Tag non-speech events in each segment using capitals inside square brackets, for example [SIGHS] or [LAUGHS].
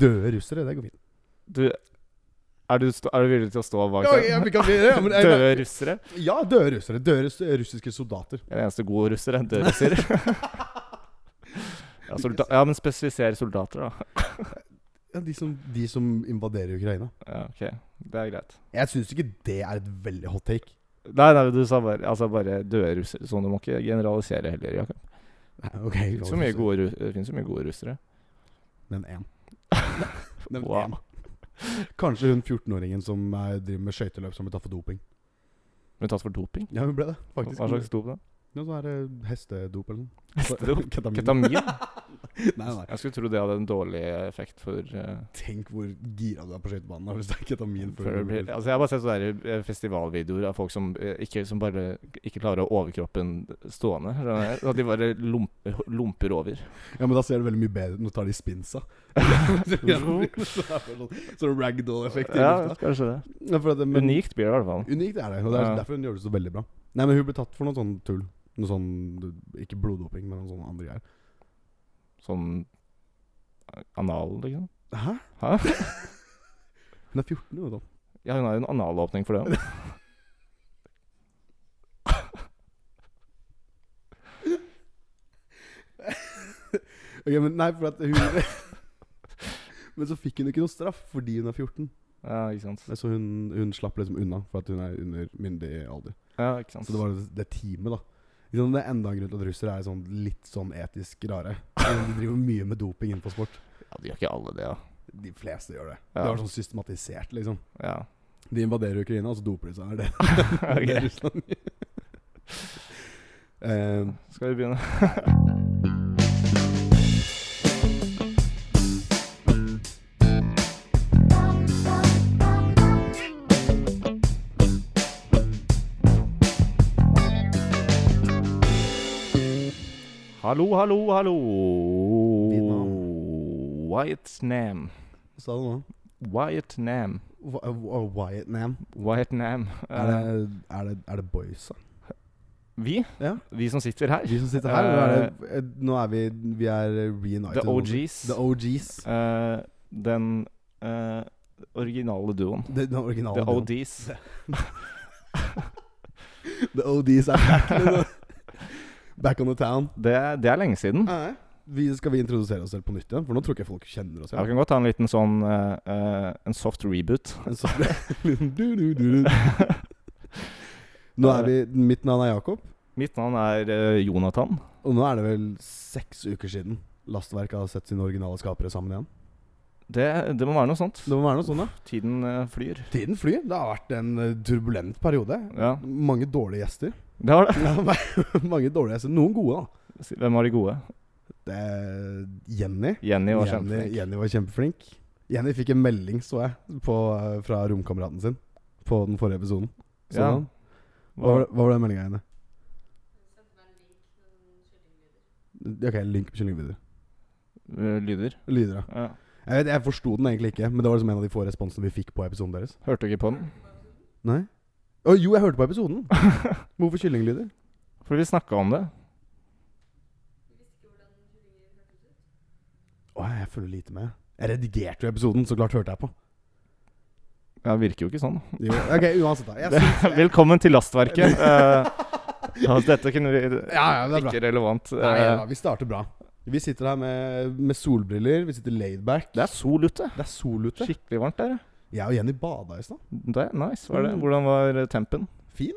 døde russere. Det går fint. Du, er, du stå, er du villig til å stå bak Ja, den? jeg, vi kan bli det, ja, men, jeg, Døde russere? ja, døde russere. Døde russ- russiske soldater. Jeg er den eneste gode russer, en død russer. [LAUGHS] ja, solda- ja, men spesifiser soldater, da. Ja, de, som, de som invaderer Ukraina. Ja, ok, Det er greit. Jeg syns ikke det er et veldig hot take. Nei, nei, du sa bare, altså bare døde russere. Sånn, du må ikke generalisere heller. Jakob. Okay, Det finnes jo mye gode ru- det finnes jo mye gode russere. Nevn [LAUGHS] én. Nevn Wow. én. Kanskje hun 14-åringen som eh, driver med skøyteløp som blir tatt for doping. Men tatt for doping? Ja, hun ble det, faktisk. Hva slags dop, da? Noe sånn her eh, hestedop eller noe. Hestedop? [LAUGHS] Ketamin. Ketamin? Nei, nei. Jeg skulle tro det hadde en dårlig effekt for eh, Tenk hvor gira du er på skøytebanen da, hvis det er ketamin For før det du blir, altså jeg har bare sett sånne der, eh, festivalvideoer av folk som, eh, ikke, som bare ikke klarer å ha overkroppen stående. skjønner du? At de bare lump, lumper [LAUGHS] over. Ja, men da ser det veldig mye bedre ut. Nå tar de [LAUGHS] spinsa. [LAUGHS] så det er bare sånn sånn ragdoll-effekt i lufta. kanskje det. Ja, for at det- men- Unikt blir det i hvert fall. Unikt er det, og det er Ja. derfor hun gjør det så veldig bra. Nei, men hun ble tatt for noe sånn tull. Noe sånn, Ikke bloddoping, men noe sånn andre greier. Sånn anal, liksom. Hæ? Hæ? [LAUGHS] Hun er 14, jo da. Ja, hun har jo en [LAUGHS] analåpning for det. også. Ok, men nei, for at hun [LAUGHS] Men så fikk hun ikke noe straff fordi hun er 14. Ja, ikke sant. Så hun, hun slapp liksom unna for at hun er under myndig alder. Ja, ikke sant. Så Altså, det var det, det teamet, da. Ikke sant, Det er enda en grunn til at russere er sånn litt sånn etisk rare. De driver mye med doping innenfor sport. Ja, de gjør ikke alle det, da. De fleste gjør det. Ja. Det var sånn systematisert, liksom. [LAUGHS] Ja. [LAUGHS] De invaderer Ukraina, og så doper de seg. Er det Ok. det er [LAUGHS] Russland? Eh, Skal vi begynne? Hallo, hallo, hallo. Ditt Wyatt Nam. hva sa du nå? Wyatt Nam. Wh- wh- Wyatt Nam. Wyatt Nam. Eh, Er det, er det, er det boysa? vi? Ja. Vi som sitter her? Vi som sitter her, eller er det, eh, nå er vi Vi er reunited. The OGs. The OGs. Eh, den eh, originale duoen. Det- Den originale. The duoen. ODs. The ODs er back. [LAUGHS] liksom. back on the town. Det, det er lenge siden. Vi, skal vi introdusere oss selv på nytt igjen? For nå tror ikke jeg folk kjenner oss Jeg igjen. kan godt ta en liten sånn eh, eh, En soft reboot. En sånn- liten du, du, du, du. [LAUGHS] Nå er vi Mitt navn er Jakob, Mitt navn er eh, Jonathan. og nå er det vel seks uker siden Lastverk har sett sine originale skapere sammen igjen. Det, det må være noe sånt. Det må være noe sånt, da. Tiden eh, flyr. Tiden flyr. Det har vært en eh, turbulent periode. Ja, Mange dårlige gjester. [LAUGHS] det har det. [LAUGHS] Ja, Mange dårlige gjester. Noen gode, da. Hvem var de gode? Det er Jenny. Jenny var Jenny, kjempeflink. Jenny var kjempeflink. Jenny fikk en melding, så jeg, på, eh, fra romkameraten sin på den forrige episoden. Så Ja. han- sånn. Hva, Hva- var- hva var den meldinga, Jenny? Ok, link på kyllingvideoer. eh, Lyder. Lyder, ja. Ja. Jeg, vet, jeg forsto den egentlig ikke, men det var liksom en av de få responsene vi fikk på episoden deres. Hørte ikke på den. Nei? Å, jo, jeg hørte på [LAUGHS] episoden! Hvorfor kyllinglyder? For vi snakka om det. Å, jeg følger lite med. Jeg redigerte jo episoden, så klart hørte jeg på. Ja, virker jo ikke [LAUGHS] sånn. Jo, ok, uansett, da. Jeg Velkommen [LAUGHS] til Lastverket. Eh, altså, dette kunne vi Ja, ja, det er bra. Ikke relevant. Nei, Eh, ja, vi starter bra. Vi sitter her med, med solbriller, vi sitter laidback. Det er sol ute. Det er sol ute. Skikkelig varmt der. ja. Jeg og Jenny bada i stad. Det er nice. Var det? Mm. Hvordan var eh, tempen? Fin.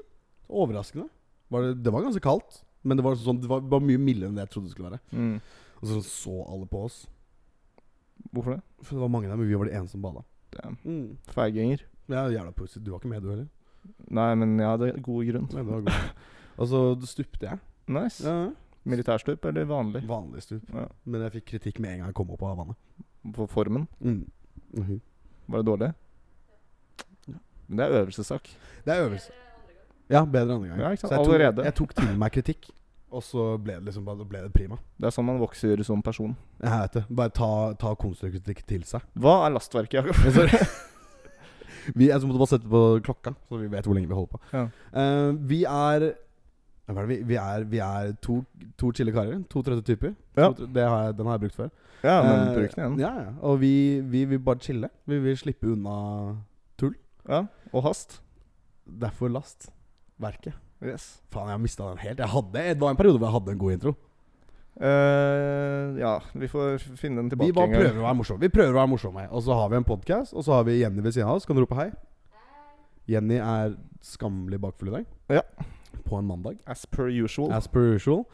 Overraskende. Var det, det var ganske kaldt, men det var, sånn, det var, var mye mildere enn det jeg trodde det skulle være. Og så så alle på oss. Hvorfor det? For det var mange der, men vi var de eneste som bada. Damn. Mm. Feiginger. Ja, jævla pussig. Du var ikke med, du heller. Nei, men jeg hadde god grunn. Nei, det var godt. [LAUGHS] Og så stupte jeg. Nice. Ja. Militærstup eller vanlig? Vanlig stup. Ja. Men jeg fikk kritikk med en gang jeg kom opp av vannet. På formen? Mm. Mhm. Var det dårlig? Men det er øvelsessak. Det er øvelse. Ja, bedre andre gang. Ja, ikke sant? Så jeg tok- Allerede. Jeg tok til meg kritikk, og så ble det liksom bare, da ble det prima. Det er sånn man vokser som person. Jeg vet det. Bare ta, ta konstruktiv kritikk til seg. Hva er lastverket, Jakob? Men altså, så- vi, jeg måtte bare sette på klokka, så vi vet hvor lenge vi holder på. Ja. Eh, vi er Ja, hva er det Vi, vi er, vi er to, to chille karer. To trøtte typer. Ja. Mm. To, det har jeg, den har jeg brukt før. [LAUGHS] Ja, men Eh, bruk den igjen. Ja, ja. Og vi, vi vil bare chille. Vi vil slippe unna Ja, og hast. derfor last. Verket. Yes. Faen, jeg har mista den helt. Jeg hadde, det var en periode hvor jeg hadde en god intro. Eh, ja, vi får finne den tilbake Vi bare prøver å være morsomme. Vi prøver å være morsomme Og så har vi en podkast, og så har vi Jenny ved siden av oss. Kan du rope hei? Jenny er skammelig bakfull i dag. Ja. På en mandag. As per usual. As per usual.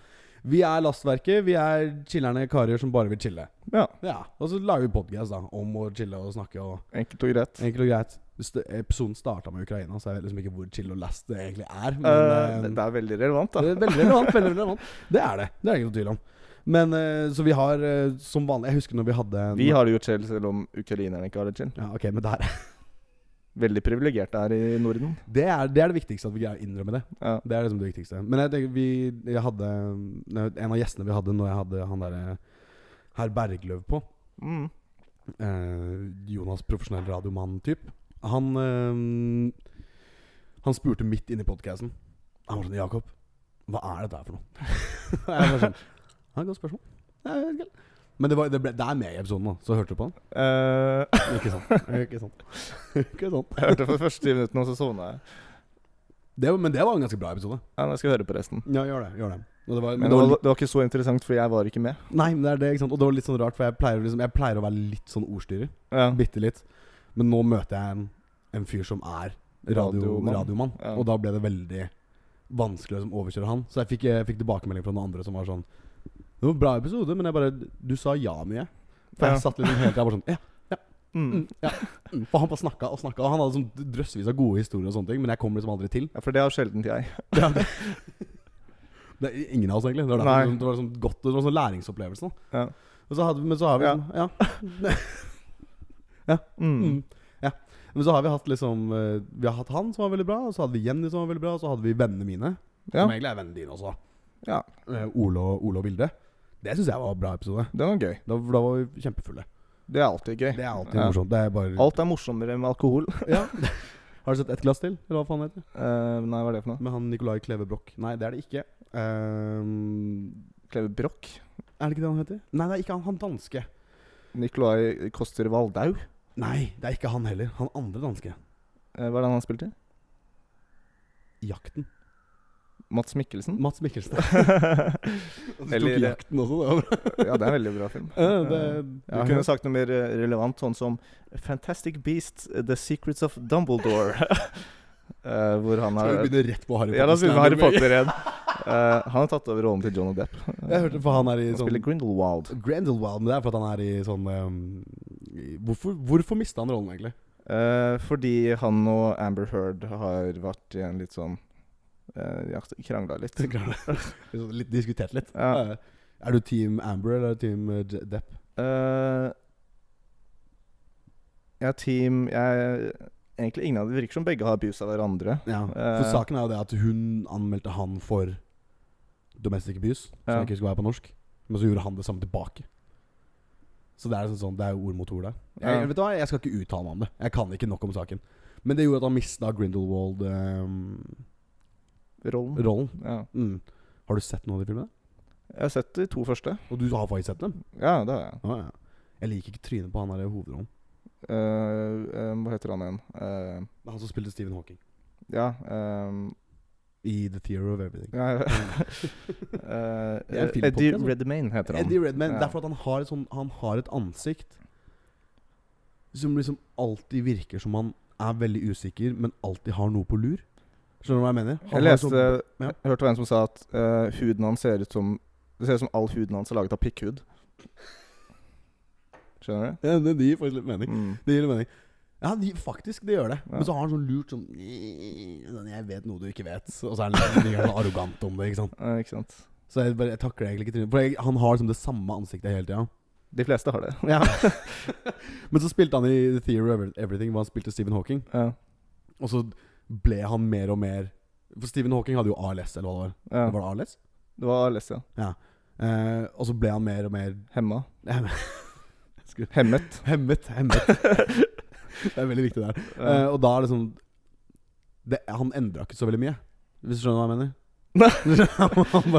Vi er Lastverket. Vi er chillerne karer som bare vil chille. Ja, Ja, Og så lager vi podkast om å chille og snakke. Og enkelt og greit. enkelt og greit St- Episoden starta med Ukraina, så jeg vet liksom ikke hvor chill og last det egentlig er. Men, Eh, eh, det, det er veldig relevant, da. det er veldig relevant. veldig relevant Det er det. Det er det ikke noe tvil om. Men eh, så vi har eh, som vanlig Jeg husker når vi hadde en- Vi har det jo chill, selv om ukrainerne ikke har det chill. ja, ok, men der Veldig privilegert der i Norden. Det er, det er det viktigste, at vi greier å innrømme det. Ja. Det er liksom det viktigste. Men jeg tenker vi jeg hadde eh, En av gjestene vi hadde når jeg hadde han derre eh, herr Bergløv på, Mm. eh, Jonas profesjonell radiomann-typ, han eh, Han spurte midt inne i podkasten. Han var sånn 'Jakob, hva er dette her for noe?' [LAUGHS] Og jeg var sånn Ja, godt spørsmål. Ja, jeg vet ikke. Men det, var, det, ble, det er med i episoden, da. Så hørte du på den? Eh, [LAUGHS] Ikke sant. Ikke sant. Ikke sant. jeg hørte for de første ti minuttene, og så sovna jeg. Det, var- men det var en ganske bra episode. Ja, men jeg skal høre på resten. Ja, gjør det. Gjør det. Og det var, Men det var, det var ikke så interessant, for jeg var ikke med. Nei, men det er det, ikke sant? Og det var litt sånn rart, for jeg pleier, liksom, jeg pleier å være litt sånn ordstyrer. Ja. Bitte litt. Men nå møter jeg en, en fyr som er radio, Radiomann. radiomann, Ja. og da ble det veldig vanskelig å liksom, overkjøre han. Så jeg fikk, jeg fikk tilbakemelding fra noen andre som var sånn Det var en bra episode, men jeg bare Du sa ja mye. For Ja. jeg satt liksom hele tida bare sånn Ja. Mm. Mm, ja mm. For han bare snakka og snakka, og han hadde sånn drøssevis av gode historier og sånne ting, men jeg kom liksom aldri [LAUGHS] til. ja, for det har sjelden jeg. Det er, det er ingen av oss, egentlig. Det var, Nei. derfor, liksom, det var liksom godt, det var sånn læringsopplevelse. Da. Ja. Og så hadde, vi- men så har vi Ja. liksom- ja. Mm. Mm. ja. Men så har vi hatt liksom eh, Vi har hatt han som var veldig bra, og så hadde vi Jenny som var veldig bra, og så hadde vi vennene mine. Ja. Som egentlig er vennene dine også. Ja. Eh, Ole, og, Ole og Vilde. Det syns jeg var en bra episode. Den var gøy. Da, da var vi kjempefulle. Det er alltid gøy. Det er alltid Ja. morsomt. Det er bare Alt er morsommere med alkohol. [LAUGHS] Ja. Har du sett Et glass til? Eller hva faen heter det? Eh, nei, hva er det for noe? Med han Nicolai Kleve Broch. Nei, det er det ikke. Eh, Kleve Broch? er det ikke det han heter? Nei, det er ikke han, han danske. Nicolai Koster Waldau? Nei, det er ikke han heller. Han andre danske. Eh, hva er det han har spilt i? Jakten. Mats Mikkelsen? [LAUGHS] Mats Mikkelsen. Eller- Jakten også, det var bra. ja, [LAUGHS] det er en veldig bra film. Ja, det, Eh, du kunne sagt noe mer eh, relevant, sånn som Fantastic Beast, The Secrets of [LAUGHS] Dumbledore. Eh, hvor han Skal vi har begynne rett på Harry Potter? Ja, la oss begynne med Harry Stanley? Potter igjen. [LAUGHS] Eh, han har tatt over rollen til Johnny Depp. Jeg hørte for han er i Han spiller sånn Grindelwald. Grendelwald, men det er for at han er i sånn ehm, i- Hvorfor, hvorfor mista han rollen, egentlig? [LAUGHS] Eh, fordi han og Amber Heard har vært i en litt sånn eh, Ja, krangla litt. Så klart det. Liksom litt Diskutert litt. Ja. Eh, Er du Team Amber eller er du Team eh, Je- Depp? Eh, ja, team jeg, Egentlig ingen av det virker som begge har abuse av hverandre. Ja. For Eh. saken er jo det at hun anmeldte han for domestic abuse, som Ja. jeg ikke husker hva er på norsk. Men så gjorde han det samme tilbake. Så det er liksom sånn Det er jo ord mot ord, det. Jeg, Ja. vet du hva, jeg skal ikke uttale meg om det. Jeg kan ikke nok om saken. Men det gjorde at han ehm, mista Grindelwald-rollen. Rollen. Ja. mm. Har du sett noen av de filmene? Jeg har sett de to første. Og du har faktisk sett dem? Ja, det har jeg. Å, ja. Jeg liker ikke trynet på han der i hovedrollen. Eh, eh, hva heter han igjen? Eh, Det er Han som spilte Stephen Hawking. ja ehm, I The Theory of Everything. ja, [LAUGHS] Det er en eh, filmpodcast, Eddie altså. Redmayne heter han. Eddie Redman. Ja. Det er fordi han har et sånn Han har et ansikt som liksom alltid virker som han er veldig usikker, men alltid har noe på lur. Skjønner du hva jeg mener? Han Jeg har leste, sånn- ja. jeg hørte en som sa at eh, huden hans ser ut som Det ser ut som all huden hans er laget av pikkhud. Skjønner ja, det, det gir faktisk litt du? mening. Mm. Det gir litt mening. Ja, de, faktisk, det gjør det. Ja. Men så har han sånn lurt sånn sånn, Jeg vet noe du ikke vet. Og så er han litt sånn arrogant om det. ikke sant Eh, ikke sant. Så jeg, bare, jeg takler egentlig ikke trynet. For jeg, han har liksom det samme ansiktet hele tida. De fleste har det. [LAUGHS] Ja. Men så spilte han i The Theory of Everything, hvor han spilte Stephen Hawking. [LAUGHS] Ja. Og så ble han mer og mer For Stephen Hawking hadde jo ALS, eller hva det var. ja. Var det ALS? Det var ALS, ja. Eh, og så ble han mer og mer [LAUGHS] Hemma. Skulle- Hemmet. hemmet. Hemmet. det er veldig viktig der. Eh, Eh, og da er det sånn det, Han endra ikke så veldig mye, hvis du skjønner hva jeg mener. [LAUGHS] han, bare, han,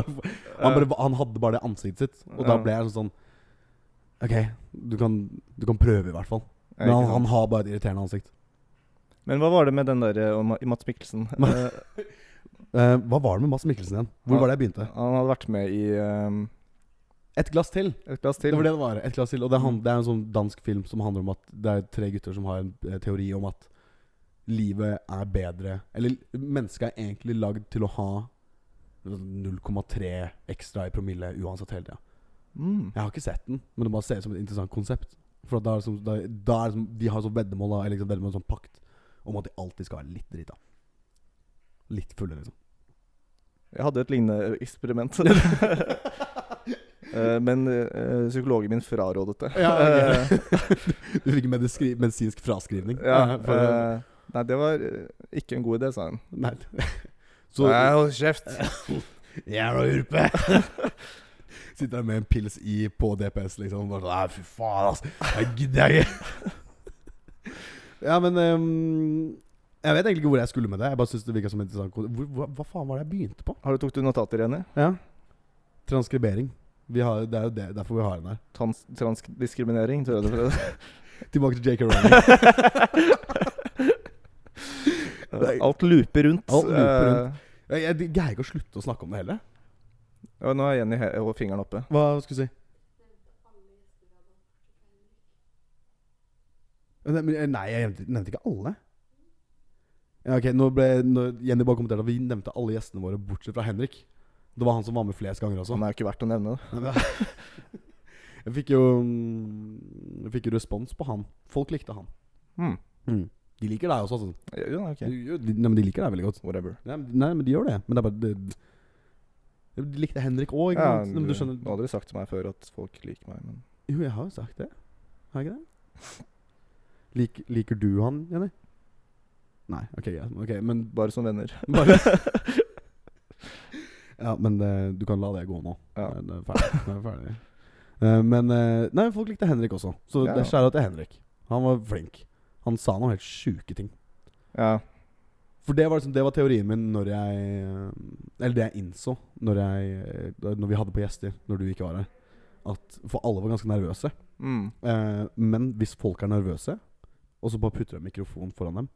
bare, han hadde bare det ansiktet sitt. Og da Eh. Ja. ble jeg sånn Ok, du kan, du kan prøve, i hvert fall. Men han, han har bare et irriterende ansikt. eh, Men hva var det med den der eh, om- i Mats Mikkelsen? Ma- Eh, Eh, hva var det med Mads Mikkelsen igjen? Hvor Ja. var det jeg begynte? han hadde vært med i eh, Et glass til! Et glass til. Det var det det var. Et glass til. Og det er, Mm. han, det er en sånn dansk film som handler om at det er tre gutter som har en eh, teori om at livet er bedre Eller mennesket er egentlig lagd til å ha 0,3 ekstra i promille uansett hele tida. Mm. Jeg har ikke sett den, men det bare ser ut som et interessant konsept. For at da er det som, da, da er det som, De har sånn veddemål, da, eller liksom veddemål sånn pakt, om at de alltid skal være litt drita. Litt fulle, liksom. Jeg hadde et lignende [LAUGHS] eksperiment. Eh, men eh, psykologen min frarådet det. Ja, [LAUGHS] Du fikk mediskri, medisinsk fraskrivning. Eh, [LAUGHS] ja, [LAUGHS] for, eh, nei, det var eh, ikke en god idé, sa hun. nei. [LAUGHS] Så Nei, hold kjeft! Jævla urpe! [LAUGHS] Sitter der med en pils i på DPS, liksom. Bare sånn Nei, fy faen, ass. Jeg gidder jeg ikke. ja, men ehm, Jeg vet egentlig ikke hvor jeg skulle med det. Jeg bare synes det virka som en interessant kode. Hvor, hva, hva faen var det jeg begynte på? Har du tok du notater, Jenny? Ja. Transkribering. Vi har, det er jo det, derfor vi har den her. Trans transdiskriminering, tror jeg det [LAUGHS] heter. Tilbake til JK Rowling. Eh, Alt looper rundt. Alt looper rundt. eh, Jeg, jeg greier ikke å slutte å snakke om det heller. ja, nå er Jenny he og fingeren oppe. Hva skulle du si? Nei, men- eh, nei, jeg nevnte, nevnte ikke alle. Ja, ok, nå ble nå, Jenny bare kommenterte at vi nevnte alle gjestene våre, bortsett fra Henrik. Det var han som var med flest ganger også. Han er jo ikke verdt å nevne. det. [LAUGHS] Jeg fikk jo mm, Jeg fikk jo respons på han. Folk likte han. Mm. De liker deg også, altså. Ja, ja, ok. Jo, de- Nei, men de liker deg veldig godt. Whatever. Nei, men- nei, men de gjør det. Men det er bare det, De likte Henrik òg, ikke Ja, sant? Nei, men du Nå skjønner hadde du sagt til meg før at folk liker meg, men Jo, jeg har jo sagt det. Har jeg ikke det? [LAUGHS] Lik, liker du han, Jenny? Nei, ok, ja, ok, men bare som venner. [LAUGHS] bare [LAUGHS] Ja, men eh, du kan la det gå nå. Ja. Det er- Det er ferdig. Det er ferdig. Eh, men eh, Nei, folk likte Henrik også, så Ja, det er ja. skjæra til Henrik. Han var flink. Han sa noen helt sjuke ting. Ja. For det var, liksom, det var teorien min når jeg eh, Eller det jeg innså når, jeg, eh, når vi hadde på gjester, når du ikke var her. At For alle var ganske nervøse. Mm. Eh, men hvis folk er nervøse, og så bare putter de mikrofonen foran dem,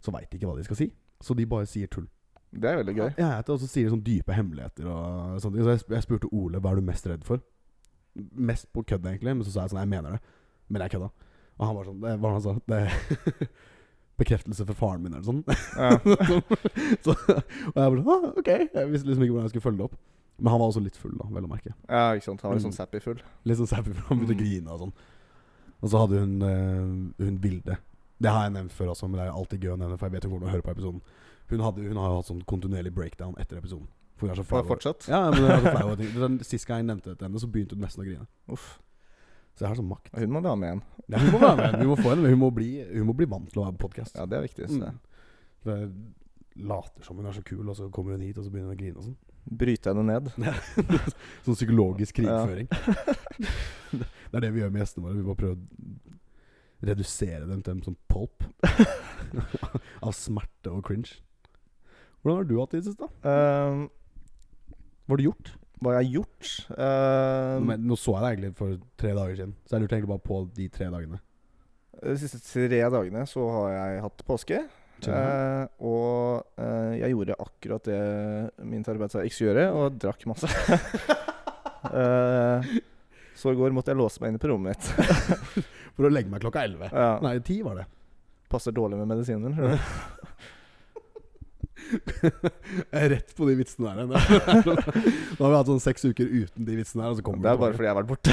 så veit de ikke hva de skal si. Så de bare sier tull. Det er veldig gøy. [LAUGHS] Ja, jeg vet det, og så sier de sånn dype hemmeligheter og sånt. Så jeg, sp jeg spurte Ole hva er du mest redd for. Mest på kødd, egentlig, men så sa jeg sånn jeg mener det. Men jeg kødda. Og han var sånn det, Hva var det han sa? Det [LAUGHS] Bekreftelse fra faren min, eller sånn. [LAUGHS] Ja. så, og jeg bare ah, OK. Jeg visste liksom ikke hvordan jeg skulle følge det opp. Men han var også litt full, da, vel å merke. ja, ikke sant. Han var sånn sappy full. Litt sånn sappy, for han begynte å Mm. grine og sånn. Og så hadde hun eh, Hun Vilde. Det har jeg nevnt før også, men det er alltid gøy å nevne, for jeg vet hun kommer til å høre på episoden. Hun, hadde, hun har jo hatt sånn kontinuerlig breakdown etter episoden. For hun er så flau. Og fortsatt. Ja, men hun er så flau [LAUGHS] over ting. Den Sist gang jeg nevnte det til henne, så begynte hun nesten å grine. Uff. Så jeg har sånn [LAUGHS] makt. Hun må vi ha med igjen. Ja, hun må være med. Vi må få henne med. Hun må bli, hun må bli vant til å være på podkast. Ja, det er viktig. Så. Later som hun er så kul, og så kommer hun hit, og så begynner hun å grine og sånn. Bryte henne ned. [LAUGHS] Sånn psykologisk Ja. krigføring. det er det vi gjør med gjestene våre. Vi bare prøver å redusere dem til en sånn pulp [LAUGHS] av smerte og cringe. Hvordan har du hatt det i det siste? Ehm, Hva har du gjort? hva jeg har gjort? Ehm, Men, nå så jeg deg egentlig for tre dager siden, så jeg lurte egentlig bare på de tre dagene. Eh, de siste tre dagene så har jeg hatt påske. Eh, og eh, jeg gjorde akkurat det min terapeut sa jeg ikke skulle gjøre, og drakk [LAUGHS] masse. Eh, så i går måtte jeg låse meg inn på rommet mitt. For å legge meg klokka elleve. Eh, Ja, [LAUGHS] Nei, ti var det. [LAUGHS] passer dårlig med medisinen min. skjønner du. Jeg er rett på de vitsene der. [LAUGHS] Nå har vi hatt sånn seks uker uten de vitsene her, og så kommer Det er bare fordi jeg har vært borte.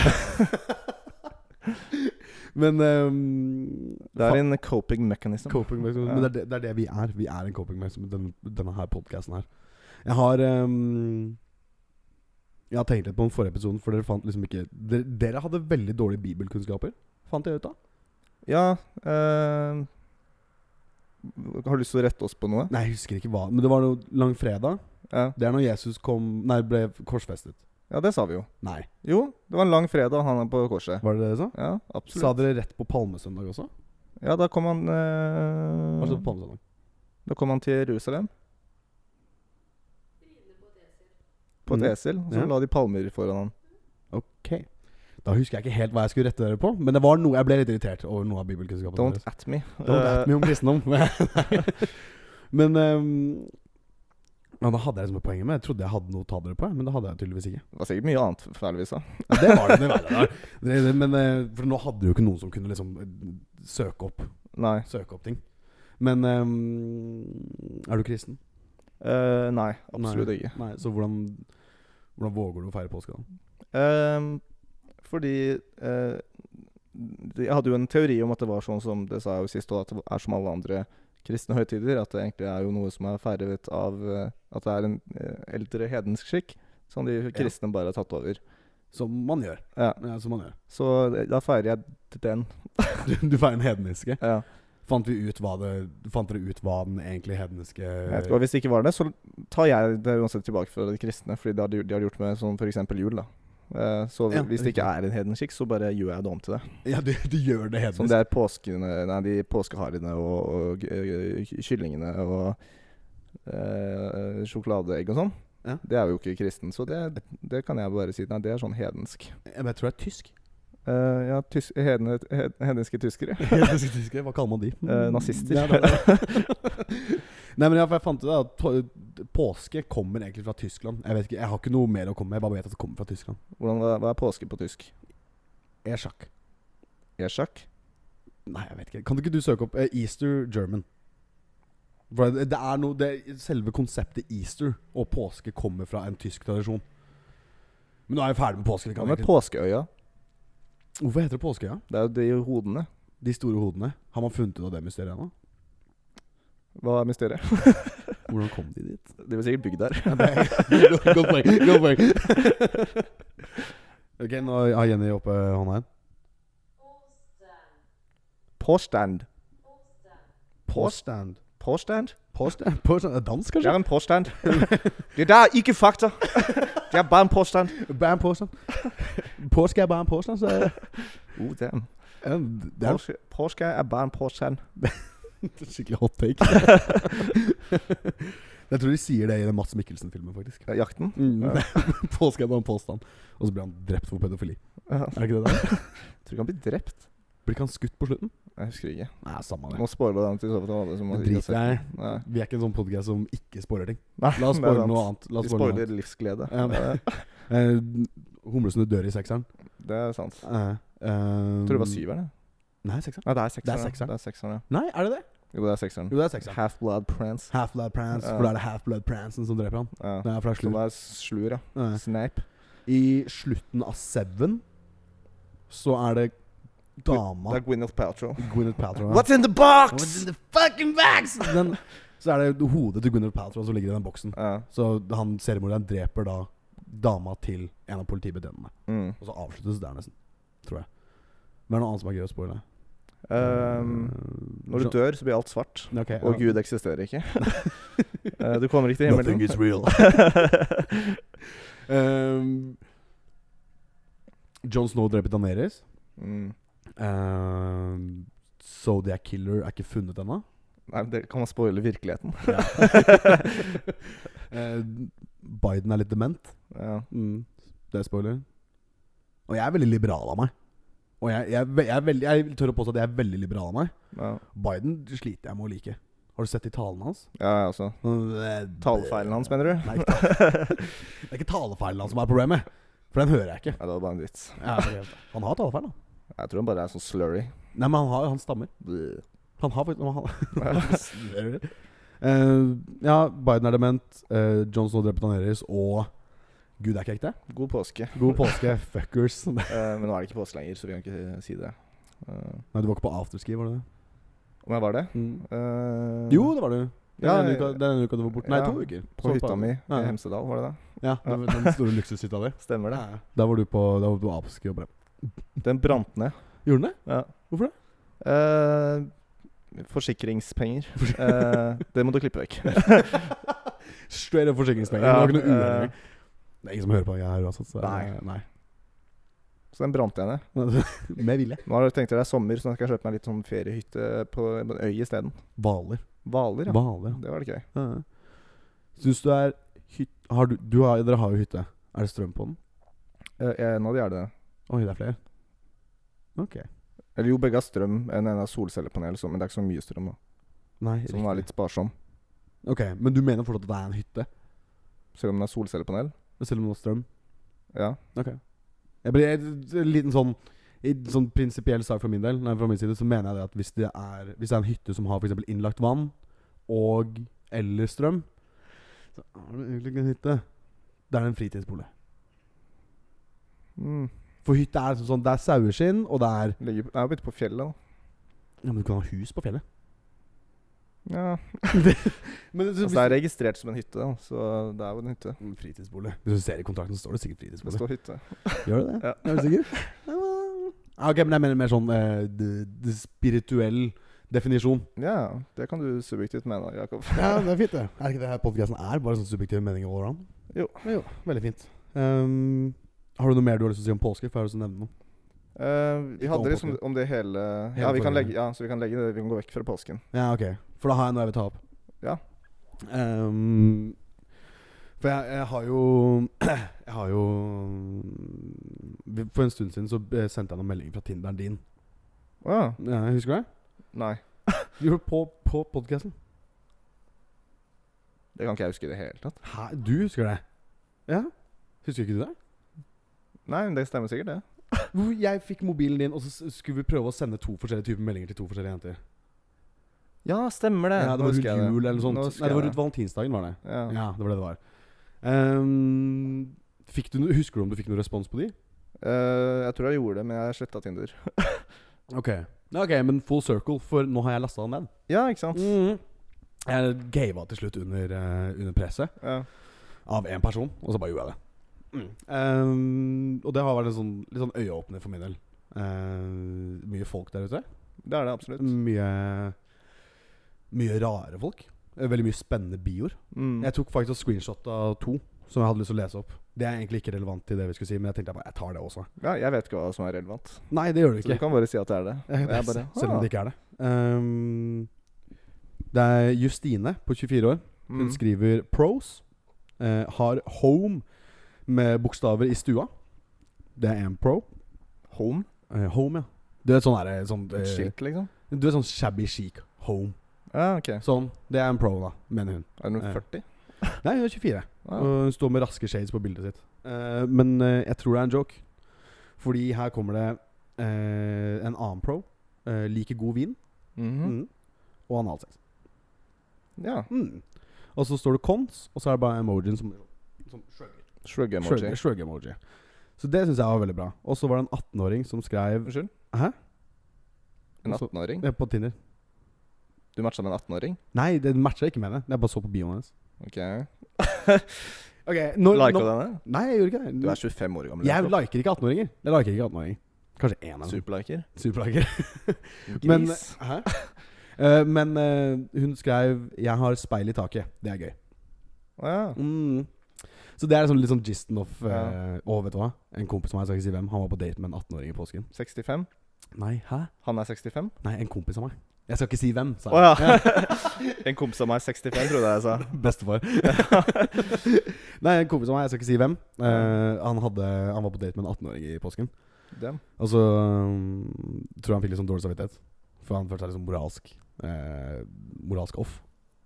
Men ehm, Det er en coping mechanism. Coping mechanism. Ja. Men det er det, det er det vi er. Vi er en coping mechanism, den, denne her podkasten her. Jeg har ehm, Jeg har tenkt litt på den forrige episoden, for dere fant liksom ikke Dere, dere hadde veldig dårlige bibelkunnskaper, fant jeg ut av. Ja eh, Har du lyst til å rette oss på noe? Nei, jeg husker ikke hva. Men det var noe langfredag. Ja. Det er når Jesus kom Nei, ble korsfestet. ja, det sa vi jo. Nei. Jo, det var en lang fredag, og han er på korset. Var det det dere sa? Ja, Sa absolutt. dere rett på palmesøndag også? Ja, da kom han eh, Altså Hva stod det på palmesøndag? Da kom han til Jerusalem. på et Mm. esel, og så Ja. la de palmer foran han. Ok Da husker jeg ikke helt hva jeg skulle rette dere på, men det var noe jeg ble litt irritert over noe av bibelkunnskapen Don't deres. at me. Don't Eh, at me om [LAUGHS] kristendom. men ehm, ja, da hadde jeg liksom et poeng med Jeg trodde jeg hadde noe å ta dere på, men det hadde jeg tydeligvis ikke. Det var sikkert mye annet forferdeligvis da. Ja, det var det med været der. Det- det- Men, eh, for nå hadde du jo ikke noen som kunne liksom eh, søke opp, Nei. søke opp ting. Men ehm, er du kristen? Eh, nei, absolutt ikke. Nei, så hvordan, hvordan våger du å feire påske da? Ehm, fordi eh, de- Jeg hadde jo en teori om at det var sånn som det sa jeg jo sist, og at det er som alle andre kristne høytider, at det egentlig er jo noe som er feiret av eh, At det er en eh, eldre hedensk skikk som de kristne bare har tatt over. Som man gjør. Ja. Ja, som man gjør. Så det- da feirer jeg den. Du, du feirer den hedniske. Ja. Fant, vi ut hva det, fant dere ut hva den egentlig hedniske Jeg vet ikke, og hvis det ikke var det, så tar jeg det uansett tilbake fra de kristne, fordi det har de, de har gjort med sånn f.eks. jul, da. Eh, så Ja, hvis det ikke riktig. er en hedensk skikk, så bare gjør jeg det om til det. Ja, du, du gjør det hednisk. Som det er påskene Nei, de påskeharene og, og eh, kyllingene og eh, sjokoladeegg og sånn. Ja. Det er jo ikke kristen, så det, det kan jeg bare si. Nei, det er sånn hedensk. Jeg, vet, jeg tror det er tysk. Eh, ja, tys hedne, hed hedenske tyskere. [LAUGHS] Hedniske tyskere, Hva kaller man de? Eh, nazister. Ja, Mm, det er det. Nei, men ja, for jeg fant ut da at to- påske kommer egentlig fra Tyskland. Jeg vet ikke, jeg har ikke noe mer å komme med, jeg bare vet at det kommer fra Tyskland. [LAUGHS] Hvordan, hva, hva er påske på tysk? Ersjakk. Ersjakk? Nei, jeg vet ikke. Kan ikke du søke opp eh, Easter German? For det, det er noe det, Selve konseptet easter og påske kommer fra en tysk tradisjon. Men nå er vi ferdig med påske. Vi Hva kan med egentlig- påskeøya? Hvorfor heter det påskeøya? Det er jo de hodene. De store hodene. Har man funnet ut av det mysteriet ennå? Hva er mysteriet? [LAUGHS] Hvordan kom de dit? De var sikkert bygd der. [LAUGHS] Godt poeng. Godt poeng. [LAUGHS] ok, nå har Jenny oppe hånda igjen. Påstand. Påstand. Påstand? Påstand? Påstand. Er det Dansk, Det kanskje? er en [LAUGHS] påstand. Det der er ikke fakta. Det er bare en påstand. Bare en påstand. [LAUGHS] Påske er bare en påstand, så er Oh, damn. Ja, det er Påske, påske er bare en påstand. Skikkelig hot [LAUGHS] take. jeg tror de sier det i den Mats Mikkelsen-filmen, faktisk. Ja, Jakten? Ja. [LAUGHS] Påske er bare en påstand. Og så blir han drept for pedofili. Ja. Er det ikke det der? Tror du han blir drept? Blir ikke han skutt på slutten? Jeg husker ikke. Nei, samme Nå spoiler den til så vidt alle som Det ikke har sett driter jeg i. den. Nei. Vi er ikke en sånn podcast som ikke spoiler ting. Nei, La [LAUGHS] oss det er spoile sant. noe annet. La oss Vi spoile noe spoiler livsglede. [LAUGHS] Ja. Eh, annet. Eh, Humlesnø dør i sekseren. Det er sant. Jeg Eh, eh, tror det var syveren. jeg. Nei, sekseren. Nei, det er sekseren. sekseren. Det er sekseren, ja. Nei, er det det? Jo, det er sekseren. Jo, det er sekseren. Half-Blood Prance. Half-Blood Prance. Ja. For da er det Half-Blood Prancen som dreper han. Ja. Det er fra Som slutt. er slur, ja. Eh. Snape. I slutten av Seven så er det dama Det er Gwyneth Paltrow. Gwyneth Paltrow. What's in the box?! What's in the fucking box? [LAUGHS] Den, så er det hodet til Gwyneth Paltrow som ligger i den boksen. Ja. Så han seriemorderen dreper da dama til en av politibetjentene. Mm. Og så avsluttes det der, nesten. Tror jeg. Men det er noe annet som er gøy å spoile. Ehm, når du dør, så blir alt svart. Ok, ja. Og Gud eksisterer [LAUGHS] ikke. Eh, du kommer ikke til himmelen. Nothing is real. um, John Snow dreper Daenerys. Mm. Um, Zodiac Killer er ikke funnet ennå. Nei, det kan man spoile virkeligheten. [LAUGHS] Eh, Biden er litt dement. Mm, Ja. Det er spoiler. Og jeg er veldig liberal av meg. Og jeg, jeg, er ve- jeg, er veldig, jeg tør å påstå at jeg er veldig liberal av meg. Ja, Biden sliter jeg med å like. Har du sett de talene hans? ja altså. Talefeilen hans, mener du? Nei, ikke ta- det er ikke talefeilen hans som er problemet. For den hører jeg ikke. Ja, det var bare en vits. Ja, for helt. Han har talefeil, da. Jeg tror han bare er [LAUGHS] sånn slurry. Nei, men han, har, han stammer. Bleh. Han har faktisk [LAUGHS] han, han, Eh, Ja, Biden er dement. Uh, Johnson drept Daenerys. Og Gud er ikke ekte. God påske. God påske, [LAUGHS] fuckers. Nei, Eh, men nå er det ikke påske lenger, så vi kan ikke si det. Eh, du var ikke på afterski, var du det? om jeg var det? Mm. Eh, Jo, det var du. Det Ja, er den uka, det er den uka du var borte. Nei, ja, to uker. På Så hytta mi Ja. i Hemsedal, var det det? Ja, den, den store luksushytta di. Stemmer det. Der var du på, der var du på afterski og ble Den brant ned. Gjorde den det? Ja. Hvorfor det? Eh, forsikringspenger. [LAUGHS] Eh, det må du klippe vekk. Straight up forsikringspenger. Ja, det var ikke noe uhell eh, engang. Det er ingen som hører på jeg her uansett. Så Nei. [LAUGHS] nei. Så den brant jeg ned. Med vilje. Nå har jeg tenkt at det er sommer, så nå skal jeg kjøpe meg litt sånn feriehytte på en øy isteden. Hvaler. Hvaler, ja. Hvaler, ja. Det var det gøy. Ja. Syns du er hyt... har du, du har, dere har jo hytte. Er det strøm på den? Eh, En av de er det. Oi, det er flere. Ok. Eller jo, begge har strøm. En ene har solcellepanel, så, men det er ikke så mye strøm. da Nei, Så den er litt sparsom. Ok, Men du mener fortsatt at det er en hytte? Selv om den er solcellepanel. Selv om det er strøm? Ja. Ok. Jeg ble, en liten sånn i en sånn prinsipiell sak fra min del Nei, fra min side så mener jeg det at hvis det er Hvis det er en hytte som har for eksempel innlagt vann og eller strøm, så er det egentlig ikke en hytte. Det er en fritidsbolig. Mm. For hytte er sånn, sånn Det er saueskinn, og det er Ligger, det er jo litt på fjellet, da. Ja, men du kan ha hus på fjellet. Ja. Men Altså, det er registrert som en hytte, da, så det er jo en hytte. Fritidsbolig. Hvis du ser i kontrakten, så står det sikkert Det fritidsbolig. står hytte. Gjør det det? Ja. Er du [LAUGHS] sikker? Ja, ok, men jeg mener mer sånn eh, d- d- spirituell definisjon. Ja, det kan du subjektivt mene, Jakob. Ja, det er fint, det. Er det ikke det her podkasten er? Bare sånn subjektive meninger all around? Jo. jo veldig fint. Ehm, har du noe mer du har lyst til å si om påske? For jeg har lyst til å nevne noe. Eh, vi Ikke hadde om liksom påsken. om det hele Ja, Hele vi kan forrige. legge, ja så vi kan legge det Vi kan gå vekk fra påsken. Ja, ok. For da har jeg noe jeg vil ta opp. Ja. Ehm, for jeg, jeg har jo [CLEARS THROAT] Jeg har jo For en stund siden så eh, sendte jeg noen meldinger fra Tinderen din. Å ja. Ja, husker du det? Nei. Du gjorde det på, på podkasten. Det kan ikke jeg huske i det hele tatt. Hæ? Du husker det? Ja. Husker ikke du det? Nei, men det stemmer sikkert, det. Hvor jeg fikk mobilen din, og så s- skulle vi prøve å sende to forskjellige typer meldinger til to forskjellige jenter. Ja, stemmer det. Ja, det Nå var husker rundt jeg det. jul eller noe sånt. Nå Nei, husker det var jeg rundt valentinsdagen, var det. Ja. Ja, det var det det var. Ehm, fikk du, no- husker du om du fikk noen respons på de? Eh, jeg tror jeg gjorde det, men jeg sletta Tinder. Ok. Ja, ok, men full circle, for nå har jeg lasta den ned. Ja, ikke sant? Mhm. Jeg gava til slutt under, eh, under presset Ja. av én person, og så bare gjorde jeg det. Mm. Ehm, og det har vært en sånn, litt sånn øyeåpner for min del. Ehm, mye folk der ute. Det er det absolutt. Mm. Mye Mye rare folk. Eh, Veldig mye spennende bioer. Mm. Jeg tok faktisk et screenshot av to som jeg hadde lyst til å lese opp. Det er egentlig ikke relevant til det vi skulle si, men jeg tenkte jeg bare jeg tar det også. Ja, jeg vet ikke hva som er relevant. Nei, det gjør det Så du ikke. kan bare si at det er det. Jeg [LAUGHS] Jeg bare, bare, selv om ah. det ikke er det. Ehm, det er Justine på 24 år. Hun Mm. skriver pros. eh, har home med bokstaver i stua. Det er en pro. Home? Eh, home, ja. Du vet sånn er sånn, Et eh, skilt, liksom? Du vet sånn shabby chic home. Ja, ok. Er Sånn. Det er en pro, da, mener hun. det noe Ja. 40? Nei, hun er 24. Ja. Og hun står med raske shades på bildet sitt. Eh, men eh, jeg tror det er en joke. Fordi her kommer det eh, en annen pro. Eh, liker god vin. Mhm. Mm. Og analsex. Ja. Mm. Og så står det cons, og så er det bare emojien som, som shrugger. Shrug emoji. Shrugger- Shrug-emoji. så det syns jeg var veldig bra. Og så var det en 18-åring som skrev Unnskyld? Hæ? En Altså- 18-åring? eh, på Tinder. Du matcha med en 18-åring? Nei, det matcha ikke med det. Jeg bare så på bioen hennes. Ok. Okay, Lika du henne? Nei, jeg gjorde ikke det. Du er 25 år gammel. jeg Jakob. liker ikke 18-åringer. Jeg liker ikke 18-åringer. Kanskje én av dem. Superliker. Superliker. Gris. Men, hæ? [LAUGHS] Eh, men eh, hun skrev 'Jeg har speil i taket'. Det er gøy. Å ja. Mm. Så det er liksom litt sånn gisten of eh, Ja. Og vet du hva? En kompis av meg, jeg skal ikke si hvem, han var på date med en 18-åring i påsken. 65? Nei, hæ? Han er 65? Nei, en kompis av meg. Jeg skal ikke si hvem, sa Å jeg. ja. [LAUGHS] en kompis av meg er 65, trodde jeg jeg sa. Bestefar. [LAUGHS] Nei, en kompis av meg, jeg skal ikke si hvem. eh, han, hadde, han var på date med en 18-åring i påsken. Dem. Og så um, tror jeg han fikk litt sånn dårlig samvittighet. For han følte seg liksom moralsk eh, Moralsk off.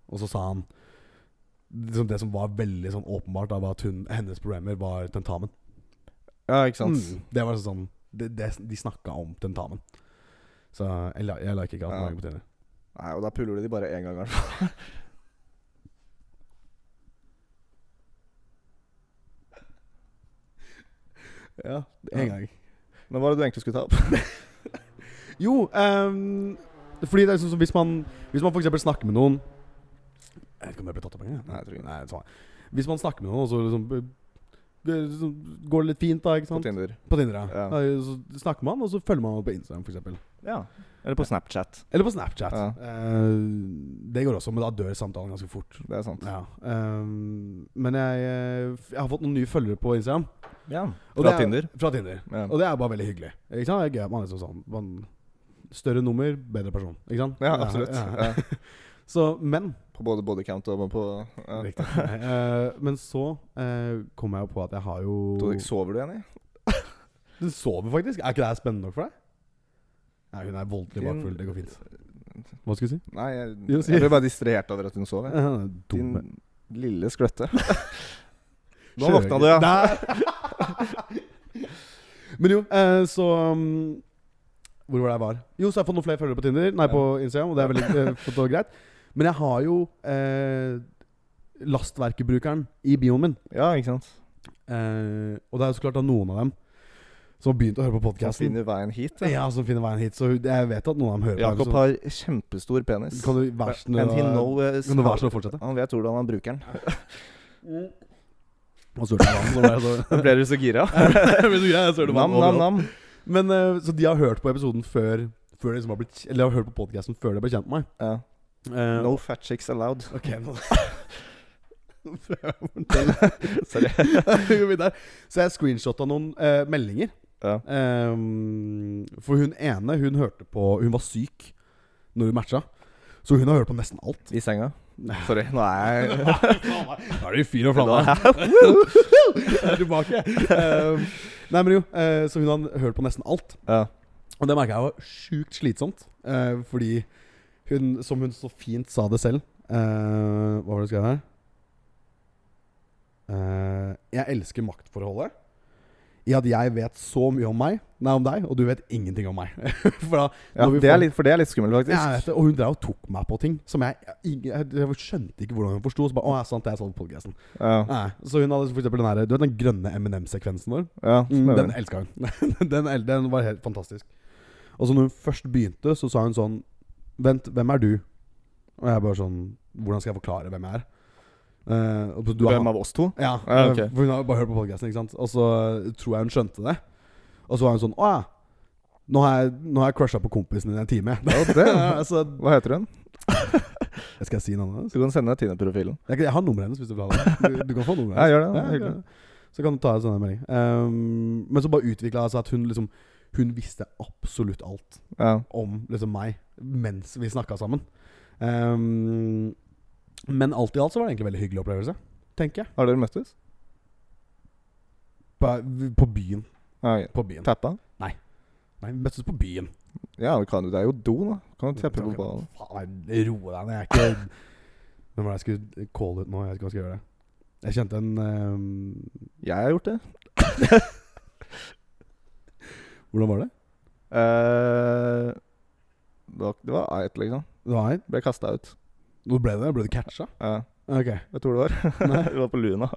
Og så sa han liksom det som var veldig sånn åpenbart, da, var at hun, hennes problemer var tentamen. Ja, ikke sant. Mm. Det var sånn det, det, De snakka om tentamen. Så jeg, li- jeg liker ikke at Ja. han er på Tinder. Nei, og da puler du de bare én gang, i hvert fall. [LAUGHS] Ja, en gang. Men hva var det du egentlig skulle ta opp? Jo, ehm, fordi det er sånn som hvis man Hvis man for eksempel snakker med noen Jeg vet ikke om jeg ble tatt opp engang. jeg. Nei, jeg tror ikke det. Nei, samme. Hvis man snakker med noen, og så liksom eh, det er liksom- Går det litt fint, da? ikke På sant? Tinder. På Tinder, ja. Ja. Da Så snakker man, og så følger man på Instagram, f.eks. Ja. Eller på Snapchat. Eller på Snapchat. Ja. Eh, det går også, men da dør samtalen ganske fort. Det er sant. Ja. ehm, men jeg, eh, f- jeg har fått noen nye følgere på Instagram. Ja. Og Fra det er- Tinder. Fra Tinder. Ja. Og det er bare veldig hyggelig. Ikke sant? Det er gøy at man er liksom sånn man, Større nummer, bedre person. Ikke sant? ja, absolutt. Ja, ja. Ja. Så, men På både bodycount og på ja. Riktig. Eh, men så eh, kom jeg jo på at jeg har jo Todrik, sover du, Jenny? Du sover faktisk? Er ikke det spennende nok for deg? Nei, hun er voldelig Din- bakfull. Det går fint. Hva skulle du si? Nei, jeg, Jo, si. jeg ble bare distrahert over at [LAUGHS] hun sov. jeg. Eh, Dumme Din lille [LAUGHS] skløtte. Nå våkna du, ja. Nei. [LAUGHS] Men jo, eh, så um, Hvor var det jeg var? Jo, så har jeg fått noen flere følgere på Tinder. Nei, på Instagram, og det er veldig eh, [LAUGHS] fått det greit. Men jeg har jo eh, lastverkebrukeren i bioen min. Ja, ikke sant? Eh, og det er jo så klart da noen av dem som har begynt å høre på Kan podkasten. finne veien hit. jeg. Ja, som finner veien hit. Så jeg vet at noen av dem hører Jakob på. har kjempestor penis. Så kan du være så snill And he å- knows kan du være så snill å fortsette? eh, Han vet hvordan han bruker den. Og så hørte jeg på han, så [LAUGHS] [LAUGHS] ble jeg så- [LAUGHS] Ble du så gira? Jeg ble så grei, jeg så hørte på han Nam, nam, overalt. nam. Men eh, Så de har hørt på episoden før Før de liksom har blitt Eller har hørt på podcasten før de ble kjent med meg. Ja. Eh, No fat chicks allowed. Ok, [LAUGHS] nå Nå prøver jeg å fortelle. [LAUGHS] Sorry. [LAUGHS] Vi går videre. Så jeg screenshotta noen eh, meldinger. Ja. Eh, for hun ene, hun hørte på Hun var syk når hun matcha. Så hun har hørt på nesten [LAUGHS] alt. I senga. Sorry. Nå [LAUGHS] er jeg Da er det fyr og flamme. Jeg [LAUGHS] er tilbake. Eh, nei, men jo. eh, så hun har hørt på nesten alt. ja. Og det merka jeg var sjukt slitsomt. eh, fordi hun, som hun så fint sa det selv eh, Hva var det du skrev her? Eh, jeg elsker maktforholdet. I at jeg vet så mye om meg Nei, om deg, og du vet ingenting om meg. [LAUGHS] For da ja når vi det får- er litt, for det er litt skummelt, faktisk. jeg vet det, Og hun drev og tok meg på ting som jeg, jeg, ingen- jeg, jeg skjønte ikke hvordan hun forsto. Så bare, å, ja, sant, det er sånn på podcasten. Ja. Nei, Så hun hadde for eksempel den her, Du vet den grønne M&M-sekvensen vår? ja. Mm, smører. den elska hun. [LAUGHS] den, el- den var helt fantastisk. Og så når hun først begynte, så sa hun sånn Vent, hvem er du? Og jeg bare sånn Hvordan skal jeg forklare hvem jeg er? Eh, og så, du er Hvem han. av oss to? Ja, Ja, ok. eh, For hun har jo bare hørt på podkasten, ikke sant. Og så eh, tror jeg hun skjønte det. Og så var hun sånn Å ja. Nå har jeg, nå har jeg crusha på kompisen din i en time. Ja, det. [LAUGHS] altså, Hva heter hun? skal jeg si navnet hennes? Du kan sende Tine-profilen. Jeg, kan- jeg har nummeret hennes, hvis du vil [LAUGHS] ha det. Du, du kan få nummeret Ja, gjør det. Ja, det er hyggelig. Så kan du ta en sånn melding. Ehm, men så bare utvikla altså at hun liksom Hun visste absolutt alt Ja. om liksom meg mens vi snakka sammen. Ehm, men alt i alt så var det egentlig en veldig hyggelig opplevelse, tenker jeg. Har dere møttes? På, på byen. Ja, ok. På byen. Tappa? Nei, vi møttes på byen. Ja, du kan jo, det er jo do, da. Du kan jo teppe på ballen. Faen, jeg- Roe deg ned. Jeg er [LAUGHS] ikke Hvem var det jeg skulle calle ut nå? Jeg vet ikke hva jeg skal gjøre. Jeg kjente en ehm, Jeg har gjort det. Hvordan var det? Eh, det var- det var eit, liksom. Det var en. Ble kasta ut. Hvor ble det? Ble du catcha? Ja, Ok. vet du hvor det [LAUGHS] var? Eh, Nei. det var på Luna.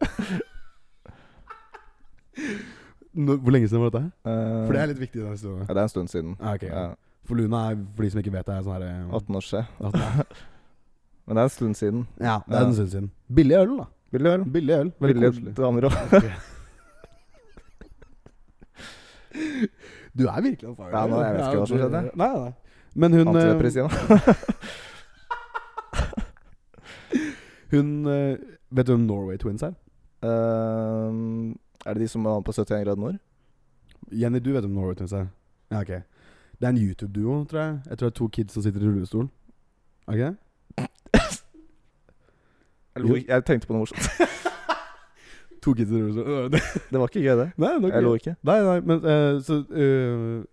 Nå- Hvor lenge siden var dette? her? Eh, For det er litt viktig i den historien. ja, det er en stund siden. Ah, ok. Ja, For Luna er, for de som ikke vet, det er sånn her eh, 18 år siden. at det er- Men det er en stund siden. Ja, det er en stund siden. Billig øl, da. Billig øl. Billig øl. Veldig Billige koselig. damer òg. Du er virkelig on fire. Ja, nå, jeg vet ikke hva som du- skjedde. Nei, nei. Men hun eh, Antidepressiva. Hun eh, Vet du hvem Norway Twins er? Eh, er det de som var på 71 grader nord? Jenny, du vet hvem Norway Twins er? Ja, ok. Det er en YouTube-duo, tror jeg. Jeg tror det er to kids som sitter i rullestol. Ok? Jeg lo ikke- Jeg tenkte på noe morsomt. To kids i rullestol. nei, [LAUGHS] Det var ikke gøy, det. det er Jeg lo ikke ikke. [LAUGHS] Nei, nei, men eh, så eh,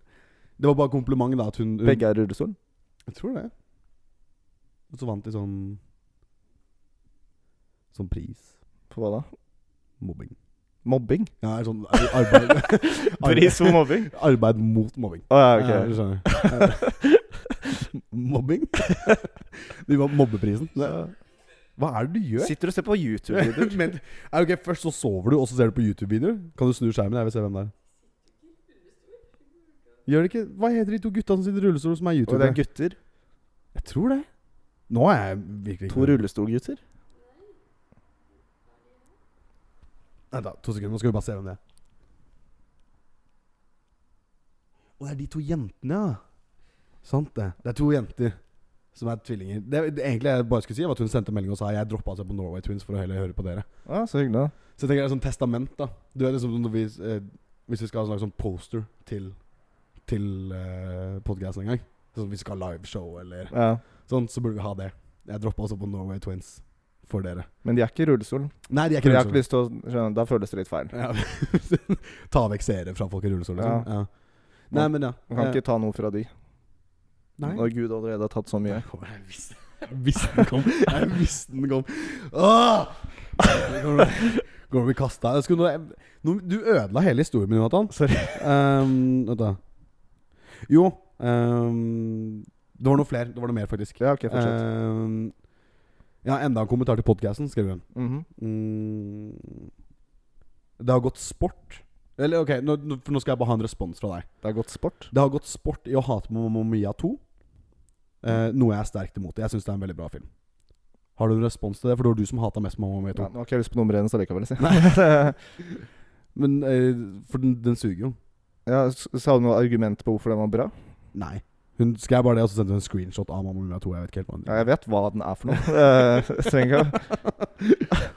Det var bare kompliment, da, at hun, hun Begge er i rullestol. Jeg tror det. Og så vant de sånn Sånn pris. På hva da? Mobbing. Mobbing? Ja, sånn ar- arbeid [LAUGHS] [LAUGHS] Pris for mobbing? Arbeid mot mobbing. Å ja, ok. Ja, du skjønner. [LAUGHS] mobbing? [LAUGHS] De var mobbeprisen. Så- Hva er det du gjør? Sitter og ser på [LAUGHS] YouTube-videoer. Men, ja, ok, Først så sover du, og så ser du på YouTube-videoer? Kan du snu skjermen? Jeg vil se hvem det er. Gjør det ikke Hva heter de to gutta som sitter i rullestol, som er Og det er youtubere? gutter. Jeg tror det. Nå er jeg virkelig To rullestolgutter. Vent da, to sekunder, nå skal vi bare se hvem det er. Og det er de to jentene, ja. Sant det. Det er to jenter som er tvillinger. Det, det egentlig jeg bare skulle si, var at hun sendte melding og sa jeg droppa altså på Norway Twins for å heller høre på dere. Ja, så hyggelig. da. Så jeg tenker det er sånn testament, da. Du vet liksom når vi, eh, Hvis vi skal ha en slags sånn poster til, til eh, podcasten en gang, sånn hvis vi skal ha liveshow eller Ja. sånn, så burde vi ha det. Jeg droppa også på Norway Twins for dere. Men de er ikke i rullestol. Nei, de er For ikke jeg har ikke rullestol. lyst til å skjønne, Da føles det litt feil. Ja. [LAUGHS] Ta vekk seere fra folk i rullestol, liksom. Ja. Nei, Man- men ja. Man kan Eh, ikke ta noe fra de. Nei. Når Gud allerede har tatt så mye. Jeg kommer- jeg visste- Jeg visste den kom. [LAUGHS] Jeg visste den kom. Åh! Går over kasta. Jeg skulle nå- nå- Du ødela hele historien min, Jonathan. Sorry. Ehm, vent da. Jo ehm, Det var noe flere. Det var noe mer, faktisk. Ja, ok, fortsett. Ehm, ja, enda en kommentar til podkasten, skrev hun. Mhm. Mm, det har gått sport Eller ok, nå, nå- for nå skal jeg bare ha en respons fra deg. Det er godt sport. Det har gått sport i å hate Mamma Mia 2, eh, noe jeg er sterkt imot. Jeg syns det er en veldig bra film. Har du en respons til det? For det var du som hata mest Mamma Mia 2. Ja, nå har ikke jeg lyst på nummer én, så likevel. Si. [LAUGHS] Men, eh, for den, den suger jo. ja, s- sa du noe argument på hvorfor den var bra? Nei. Hun skrev bare det, og så sendte hun en screenshot av Mamma Mia 2. Jeg vet ikke helt hva hun Ja, jeg vet hva den er for noe. [LAUGHS] Eh, trenger ikke å-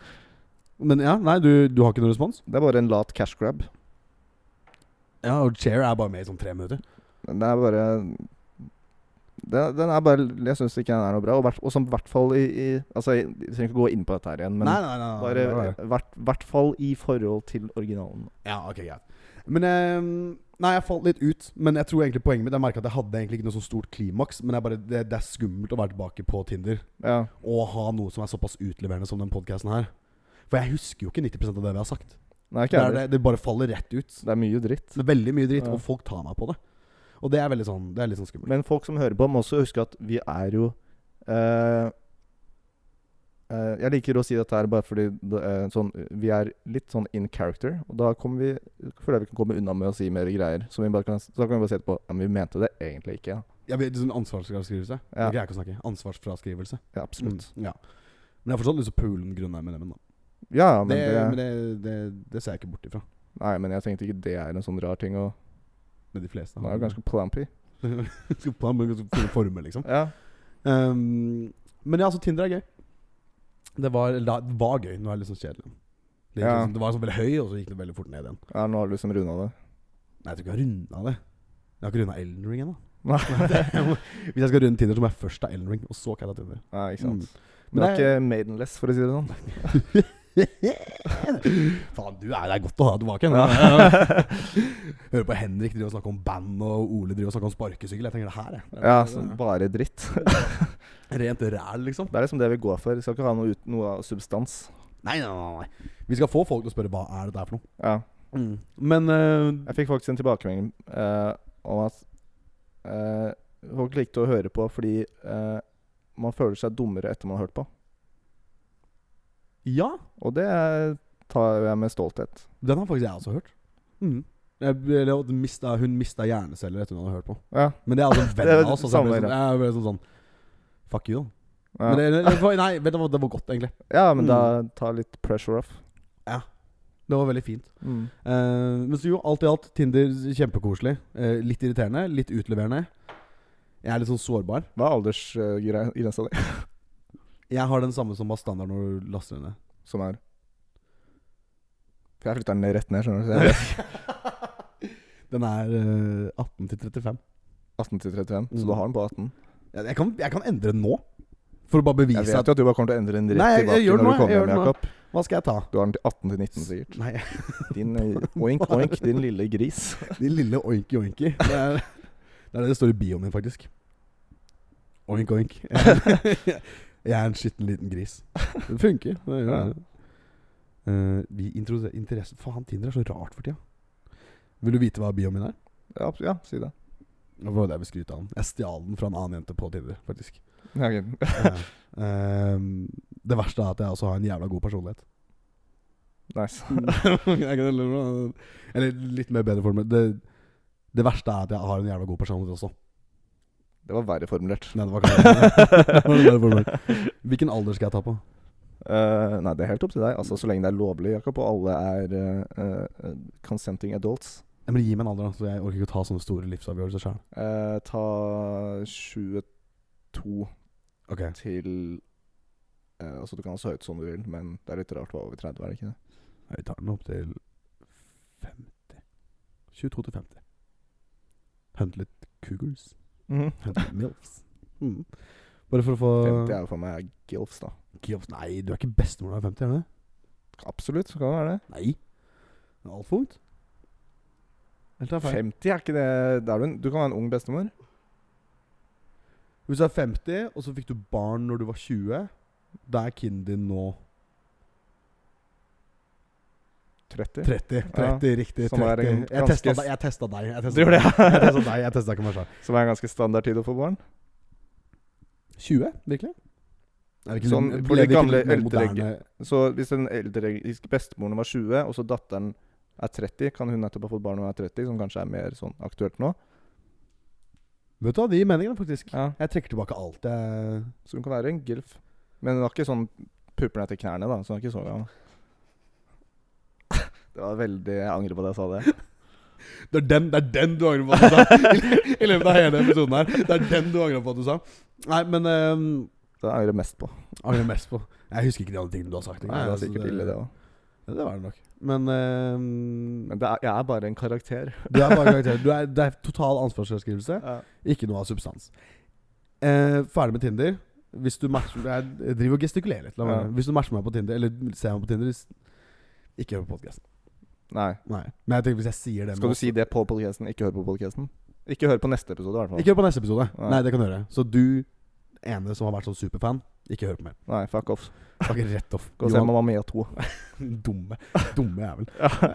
Men ja, nei, du, du har ikke noen respons? Det er bare en lat cash grab. Ja, og Chair er bare med i sånn tre minutter. Men Det er bare det, Den er bare Jeg syns ikke den er noe bra. Og, hvert, og som i hvert fall i, i Altså, jeg jeg trenger ikke gå inn på dette her igjen, men nei, nei, nei, nei, bare det var det. i hvert, hvert fall i forhold til originalen. Ja, ok, greit. Men ehm, Nei, jeg falt litt ut. Men jeg tror egentlig poenget mitt Jeg merket at jeg hadde egentlig ikke noe så stort klimaks. Men jeg bare, det, det er skummelt å være tilbake på Tinder Ja. og ha noe som er såpass utleverende som den podkasten her. For jeg husker jo ikke 90 av det vi har sagt. Det, Nei, ikke er heller. det, det bare faller rett ut. Det er mye dritt. Det er veldig mye dritt, Ja. og folk tar meg på det. Og det er veldig sånn Det er litt sånn skummelt. Men folk som hører på, må også huske at vi er jo eh, eh, Jeg liker å si dette her bare fordi det, er sånn, vi er litt sånn in character. Og da kommer vi, føler jeg vi kan komme unna med å si mer greier. Så, vi bare kan, så kan vi bare si etterpå Ja, men vi mente det egentlig ikke. Ja, Jeg blir litt sånn ansvarsfraskrivelse. Ja. Jeg greier ikke å snakke. Ansvarsfraskrivelse. ja absolutt. Mm, ja. Men jeg har fortsatt lyst til å pule den grunne M&M-en, da. Ja, ja, men Mm. det, det, men det, det, det ser jeg ikke bort ifra. Nei, men jeg tenkte ikke det er en sånn rar ting å Med de fleste. Den er jo ganske plampy. [LAUGHS] Skal på en fin forme, liksom. Ja. Ehm, men ja, altså, Tinder er gøy. Det var, eller da- det var gøy. Nå er det litt sånn kjedelig. Det, gikk Ja. liksom, det var sånn veldig høy, og så gikk det veldig fort ned igjen. ja, nå har du liksom runda det. [LAUGHS] Nei, jeg tror ikke jeg har runda det. Jeg har ikke runda Elden Ring ennå. [LAUGHS] Nei, Hvis jeg skal runde Tinder, så må jeg først ta Elden Ring, og så kan jeg ta Tinder. [LAUGHS] ikke sant. Mm. Men Men det er det ikke maidenless, for å si det sånn. Faen, du er det er godt å ha deg tilbake. nå. [LAUGHS] Hører på Henrik driver og snakker om band, og Ole driver og snakker om sparkesykkel. Jeg tenker det her, jeg. Ja, så bare dritt. [LAUGHS] Rent ræl, liksom. Det er liksom det vi går for. Vi skal ikke ha noe, ut, noe av substans. Nei, nei, nei, nei. Vi skal få folk til å spørre hva er dette her for noe. Ja. Men eh, Jeg fikk faktisk en tilbakemelding eh, om at eh, folk likte å høre på fordi eh, man føler seg dummere etter man har hørt på. ja, Og det tar jeg med stolthet. den har faktisk jeg også hørt. Mm. Jeg, eller, at hun mista, hun mista hjerneceller etter hun hadde hørt på. Ja. Men det er altså en venn Det er av oss. Altså, samme jeg ble sånn, greie. jeg ble sånn, sånn Fuck you, da. Ja, Men det, Mm. det, det var, nei, vet du hva, det var godt, egentlig. ja men da ta litt pressure off. Det var veldig fint. Mm. Eh, men så jo, alt i alt, Tinder kjempekoselig. Eh, litt irriterende, litt utleverende. Jeg er litt sånn sårbar. Hva er aldersgrensa di? Jeg har den samme som var standard når du laster den ned. Som er For jeg flytter den ned- rett ned, skjønner du. Så jeg er [LAUGHS] [LAUGHS] Den er eh, 18 til 35. 18 til 31, så Mm. du har den på 18. Jeg, jeg, kan, jeg kan endre den nå, for å bare Jeg bevise vet at jo at du bare kommer til å endre den rett Nei, jeg- jeg tilbake gjør det når nå, du kommer jeg hjem, gjør det nå. Jakob. Hva skal jeg ta? Du har den til 18 til 19, sikkert. Nei, Din eh, oink, oink, din lille gris. [LAUGHS] de lille oinki-oinki. Det, er- det er det det står i bioen min, faktisk. Oink-oink. Jeg er en skitten liten gris. Det funker. Det gjør det. Eh, vi introduse- interesse Faen, Tinder er så rart for tida. Vil du vite hva bioen min er? Ja, ja si det. Det var det jeg vil skryte av. den. Jeg stjal den fra en annen jente på Tinder, [LAUGHS] faktisk. Ja, ok. [LAUGHS] Eh, eh, det verste er at jeg også har en jævla god personlighet. Nice. Mm. [LAUGHS] Jeg kan heller- Eller litt mer bedre formel. Det, det verste er at jeg har en jævla god personlighet også. Det var verre formulert. Nei, det var kanskje det var en bedre formulering. Hvilken alder skal jeg ta på? Eh, nei, det er helt opp til deg. Altså, Så lenge det er lovlig, Jakob, og alle er eh, eh, consenting adults. Nei, men Gi meg en alder, da. Så jeg orker ikke å ta sånne store livsavgjørelser sjøl. Eh, ta 22 Okay. til eh, Altså, du kan ha så høyt som du vil, men det er litt rart å være over 30, er det ikke det? Vi tar den opp til 50. 22 til 50. Hunt litt cougars. Hunt litt milfs. Mm. Bare for å få 50 er jo for meg gilfs, da. Kiosks- Nei, du er ikke bestemor når du er 50, er du det? Absolutt, kan det være det. Nei. Det er altfor ungt. Eller tar jeg feil? 50 er ikke det det er du, en, du kan være en ung bestemor. Hvis du er 50, og så fikk du barn når du var 20, da er kiden din nå 30. 30. 30 Riktig. Som sånn er 30. en Jeg testa ganske- deg. Jeg testa deg. Jeg Du testa [LAUGHS] gjorde deg. Jeg det, testa deg. Jeg testa ikke meg selv. [LAUGHS] Som er en ganske standard tid å få barn. 20, virkelig? Er vi ikke Sånn, litt- for ble de vi ikke gamle litt mer eldre- moderne? Så hvis den eldre hvis bestemoren var 20, og så datteren er 30, kan hun nettopp ha fått barn når hun er 30, som kanskje er mer sånn aktuelt nå. Vet du hva, det gir mening, da, faktisk. Ja. Jeg trekker tilbake alt [LAUGHS] jeg Så hun kan være en gilf. Men hun har ikke sånn pupper ned til knærne, da. Så hun er ikke så gammel. [LAUGHS] Det var veldig Jeg angrer på at jeg sa det. Det er den, det er den du angrer på at du sa! I, I løpet av hele episoden her. Det er den du angrer på at du sa. Nei, men ehm, Det angrer jeg mest på. Angrer mest på Jeg husker ikke de andre tingene du har sagt. Altså, Nei, det var sikkert ille, det òg. Ja, det var det nok. Men, ehm, Men det er, jeg er bare en karakter. du er bare karakter. Du er, det er total ansvarsfraskrivelse. Ja. Ikke noe av substans. Eh, ferdig med Tinder. Hvis du matcher Jeg driver og gestikulerer litt. La meg. Ja. Hvis du matcher meg på Tinder, eller ser meg på Tinder s- Ikke hør på podkasten. Nei. Nei. Men jeg tenker hvis jeg sier det Skal med du si det på podcasten? Ikke hør på podcasten? Ikke hør på neste episode, i hvert oss- fall. Ikke hør på neste episode. Nei. Nei, det kan du gjøre. Så du ene som har vært sånn superfan, ikke hør på mer. Nei, fuck off. Fuck rett off. Gå og se Johan- Mamma Mia 2. [LAUGHS] dumme dumme jævel. [LAUGHS]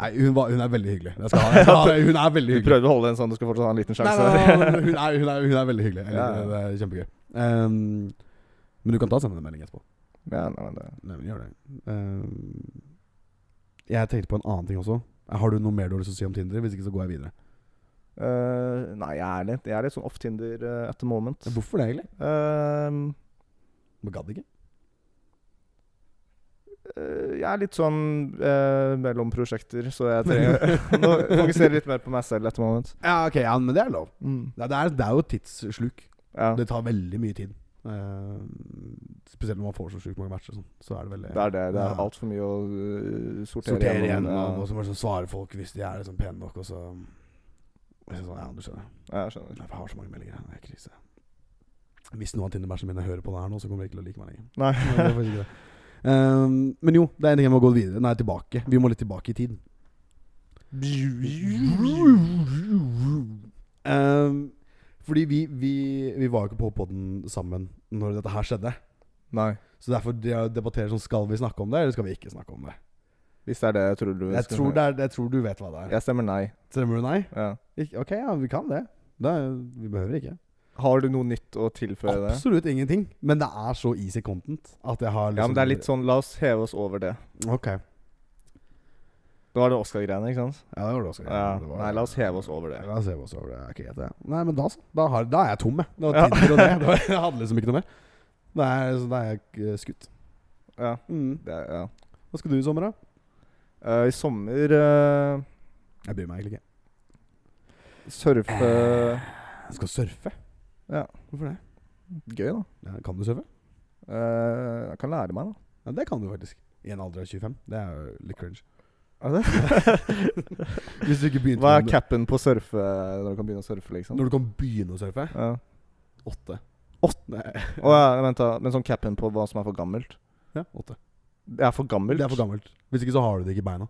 Nei, hun, var, hun er veldig hyggelig. Jeg skal ha, jeg skal ha, det. hun er veldig Du hyggelig. prøvde å holde den sånn, du skal fortsatt ha en liten Nei, sjanse. nei, nei, nei, hun, er, hun, er, hun er veldig hyggelig. Jeg Ja, liker ja. det. Det er kjempegøy. Ehm, men du kan ta og sende en melding etterpå. Ja, nei, men det. Nei, men gjør det. Ehm, jeg tenkte på en annen ting også. Har du noe mer du har lyst til å si om Tinder? Hvis ikke, så går jeg videre. Eh, nei, jeg er litt, jeg er litt sånn off Tinder eh, at the moment. Hvorfor det, egentlig? Eh, Man gadd ikke. Eh, jeg er litt sånn eh, mellom prosjekter, så jeg [LAUGHS] trenger [LAUGHS] Nå fokuserer jeg litt mer på meg selv etter moment. Ja, ok, ja, men det er lov. Mm. Det er, det er jo et tidssluk. Ja, Det tar veldig mye tid. Ehm, spesielt når man får så sjukt mange matcher. og Sånn. Så er det veldig det er det. Det er Ja. altfor mye å eh, sortere, sortere igjen, Ja. og, og så må liksom svare folk hvis de er liksom pene nok, og så og så sånn, Ja, du skjønner. Ja, jeg skjønner. Jeg har så mange meldinger. Det er krise. Hvis noen av Tinder-matchene mine hører på det her nå, så kommer de ikke til å like meg lenger. [LAUGHS] Nei. Men det er faktisk ikke det. Um, men jo, det er en ting jeg må gå videre. Nei, tilbake. Vi må litt tilbake i tid. Um, fordi vi, vi, vi var jo ikke på podden sammen når dette her skjedde. Nei. Så derfor de debatterer sånn Skal vi snakke om det, eller skal vi ikke snakke om det? Hvis det er det jeg tror du Jeg skal tror, gjøre. det er, jeg tror du vet hva det er. Jeg stemmer nei. Stemmer du nei? Ja. Ik ok, ja, vi kan det. det er, vi behøver ikke. Har du noe nytt å tilføye det? Absolutt ingenting. Men det er så easy content at jeg har liksom Ja, men det er litt sånn La oss heve oss over det. Ok. Det var det Oscar-greiene, ikke sant? Ja, det var det også. Ja. Det var- Nei, la oss heve oss over det. La oss heve oss over det. Det Er ikke greit, det. Nei, men da så. Da, har, da er jeg tom, jeg. Det var Ja. Tinder og [LAUGHS] det. det var, jeg hadde liksom ikke noe mer. Da er, så da er jeg eh, skutt. Ja. Mm. Det, ja. Hva skal du i sommer, da? Eh, I sommer eh, Jeg bryr meg egentlig ikke. surfe Jeg skal surfe. Ja. Hvorfor det? [SIGHS] Gøy, da. Ja, kan du surfe? Eh, jeg kan lære meg, da. Ja, det kan du faktisk. I en alder av 25. Det er jo litt cringe. [LAUGHS] Er det? Hvis du ikke begynte Hva er med- cappen på surfe eh, når du kan begynne å surfe, liksom? Når du kan begynne å surfe? Ja. Åtte. Å ja, vent da. Men sånn cappen på hva som er for gammelt? Ja, åtte. Det er for gammelt? Det er for gammelt. Hvis ikke så har du det ikke i beina.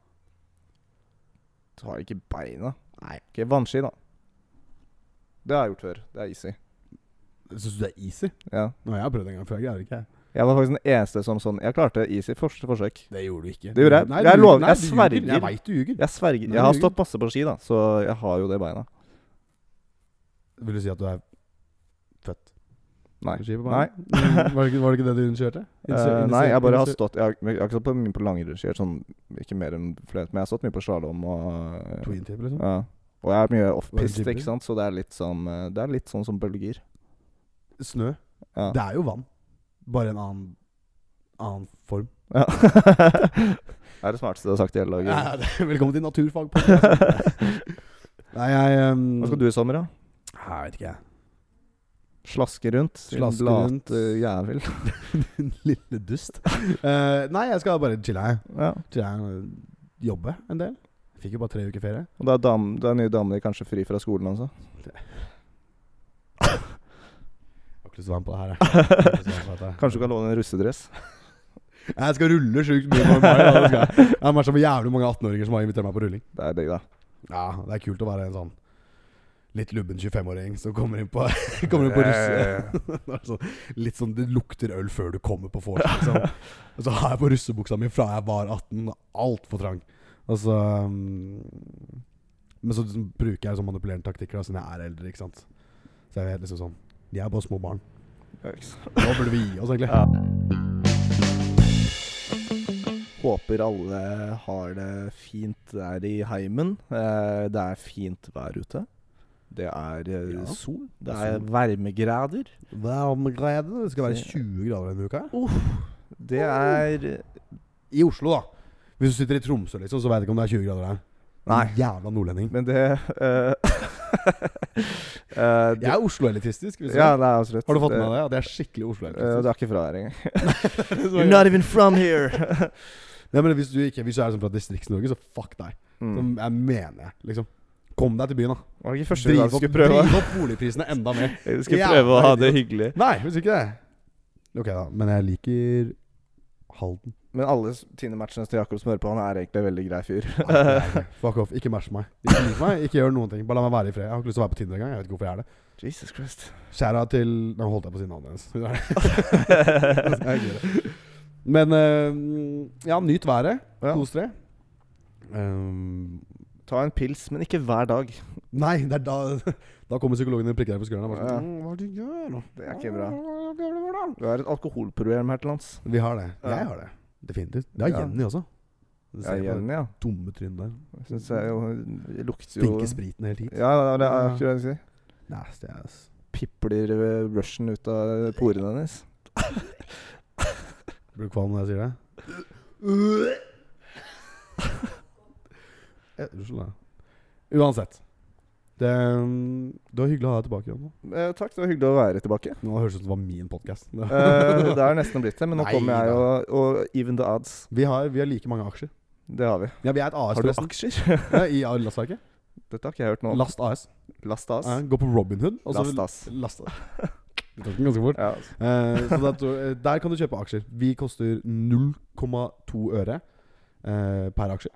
Du har ikke beina. Nei. Ok, Vannski, da. Det har jeg gjort før. Det er easy. Syns du det er easy? Ja. Nå, jeg har prøvd en gang før. Jeg greier det ikke. Jeg var faktisk den eneste som sånn Jeg klarte easy første forsøk. Det gjorde du ikke. Det gjorde jeg. Nei, Jeg du- lover- nei, jeg du ljuger. sverger. Jeg veit du ljuger. Jeg sverger. Nei, Jeg har du ljuger. stått masse på ski, da, så jeg har jo det i beina. Vil du si at du er født Nei. på ski på Nei. banen? Mm, [LAUGHS] var, det ikke, var det ikke det du initierte? Eh, nei, jeg bare har stått Jeg har, jeg har ikke stått på mye på langrennsski, sånn, ikke mer enn flere, men jeg har stått mye på slalåm og eh, Tweentip, liksom? Ja. Og jeg er mye off-pist, Var det ikke sant, så det er litt sånn eh, Det er litt sånn som [LAUGHS] bølger. Snø. Ja. Det er jo vann. Bare en annen annen form. Ja. det er det smarteste du har sagt i [LAUGHS] hele dag. Ja, det- Velkommen til naturfag. [LAUGHS] på- Nei, jeg um, Hva skal du i sommer, da? Jeg vet ikke, jeg. [LAUGHS] Slaske rundt? Slaske Slaske late rundt. jævel. Din lille dust. Eh, nei, jeg skal bare chille her. [LAUGHS] Ja. Chille her og jobbe en del. Fikk jo bare tre uker ferie. Og da er, dam, da er nye damer kanskje fri fra skolen også? Ok, ikke lyst til å være med på det her. Jeg. Jeg har ikke lyst til å være [LAUGHS] med på dette. Kanskje du kan låne en russedress? Jeg skal rulle sjukt mye. Med meg, ja, det skal jeg. jeg har matcha med jævlig mange 18-åringer som har invitert meg på rulling. Det er digg, da. Ja, Det er kult å være en sånn litt lubben 25-åring som kommer inn på, [LAUGHS] kommer inn på russe... [LAUGHS] Det er sånn, litt sånn det lukter øl før du kommer på vors. Liksom. Og så har jeg på russebuksa mi fra jeg var 18, altfor trang. Og så um, Men så liksom bruker jeg sånn manipulerende taktikker da, siden jeg er eldre, ikke sant. Så jeg er liksom sånn De er bare små barn. Ja, ikke sant. Nå burde vi gi oss, egentlig. Ja. Håper alle har det fint der i heimen. Eh, Det er fint vær ute. Det er eh, Ja. sol. Det Det er er vermegrader. Varmgrad, Det skal være 20 grader denne uka. Det er eh, I Oslo, da. Hvis du sitter i Tromsø, liksom, så veit du ikke om det er 20 grader der. Nei, Din Jævla nordlending. men det eh, [LAUGHS] eh, det, Jeg er Oslo-elitistisk. hvis du Ja, altså, vil. det er absolutt. Har du fått med deg det? At jeg er skikkelig Eh, Oslo-elitistisk? Du er ikke fra her [LAUGHS] engang. You're not even from [LAUGHS] here! Nei, men hvis du ikke Hvis du er sånn fra Distrikts-Norge, så fuck deg. mm. Som jeg mener jeg, liksom. Kom deg til byen, da. Var det ikke første gang Driv du opp, skulle prøve? driv opp boligprisene enda [LAUGHS] mer. Du skulle Ja, prøve å ha det [LAUGHS] idiot. hyggelig. Nei, hvis ikke det. Ok, da. Men jeg liker Halden. Men alle s- Tinder-matchene til Jakob som hører på, han er egentlig en veldig grei fyr. Nei, det [LAUGHS] er ikke. Fuck off. Ikke match meg. Ikke lik meg. Ikke gjør noen ting. Bare la meg være i fred. Jeg har ikke lyst til å være på Tinder engang. Jeg vet ikke hvorfor jeg er det. Jesus Christ. Skjæra til Nå holdt jeg på å si navnet hennes. Hun [LAUGHS] er det. Jeg gjør det. Men eh, ja, nyt været. Ja. Kos dere. Ehm, Ta en pils, men ikke hver dag. nei, det er da Da kommer psykologen din og prikker deg på skulderen. og bare Ja. Sånn, «Mm, hva er det du gjør? Det er ikke bra. bra. Du har et alkoholproblem her til lands. Vi har det. Ja. Jeg har det. Definitivt. Det har Ja. Jenny også. Du Ja, ser på det Jenny, ja. dumme trynet der. Jeg synes jeg jo det lukter jo Stinker spriten helt hit. Ja, ja, det er akkurat det jeg sier. Nasty ass. Pipler eh, rushen ut av porene hennes. Blir du kvalm når jeg sier [LAUGHS] det? Eh, Unnskyld, da. Uansett. Det, um, det var hyggelig å ha deg tilbake igjen. da. Eh, takk, det var hyggelig å være tilbake. Nå høres det ut som det var min podkast. [LAUGHS] Eh, det er nesten blitt det, men nå Nei kommer jeg og, og even the odds. vi, har, vi har like mange aksjer. Det har vi. Ja, vi er et AS, Har du forresten. aksjer? Ja, I A- lastverket. [LAUGHS] Dette har ikke jeg hørt nå. Last AS. Last ass. Ja, gå på Robinhood. og så- Last ass. Last [LAUGHS] AS. Du tok den ganske fort. Ja. Eh, så da tror- eh, der kan du kjøpe aksjer. Vi koster 0,2 øre eh, per aksje.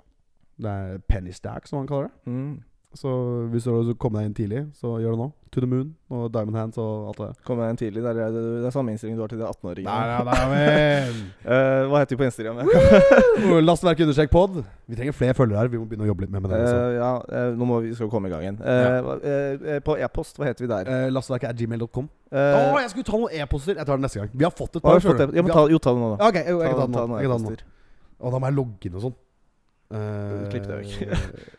Det er penny stack, som han kaller det. Mm. Så hvis du har lyst til å komme deg inn tidlig, så gjør det nå. To the Moon og Diamond Hands og alt det der. Kom igjen tidlig. Det er, det er samme innstilling du har til de 18-åringene. [LAUGHS] Diamond! Eh, hva heter vi på Instagram? ja? Oh, Lastverk understrek pod. Vi trenger flere følgere her. Vi må begynne å jobbe litt mer med det. altså. Eh, ja, eh, nå må vi, skal vi komme i gang igjen. Eh, hva- eh, eh, på e-post, hva heter vi der? Eh, Lastverket er gmail.com. Eh, Å, jeg skulle ta noen e-poster! Jeg tar det neste gang. Vi har fått et har par. vi fått det? Ja, men Vi ta, jo, ta det nå, da. har- Ok, jo, jeg kan ta den nå. noen Jeg kan ta den nå. e-poster. Og da må jeg logge inn og sånn. Eh, Klipp det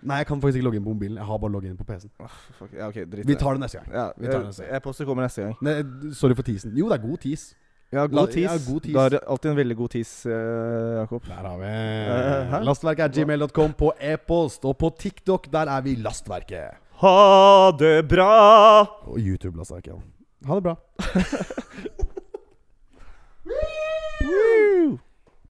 nei, jeg kan faktisk ikke logge inn på mobilen. Jeg har bare logget inn på PC-en. Åh, fuck. Ja, ok, drit Vi det. tar det neste gang. ja, vi tar eh, den neste. E-poster kommer neste gang. Nei, sorry for teasen. Jo, det er god tease. Ja, La- god tis. ja, god tis. Du har alltid en veldig god tis, eh, Jakob. Der har vi hæ? Lastverket er gmail.com på e-post, og på TikTok der er vi Lastverket. Ha det bra! Og YouTube-lastverket. ja. Ha det bra.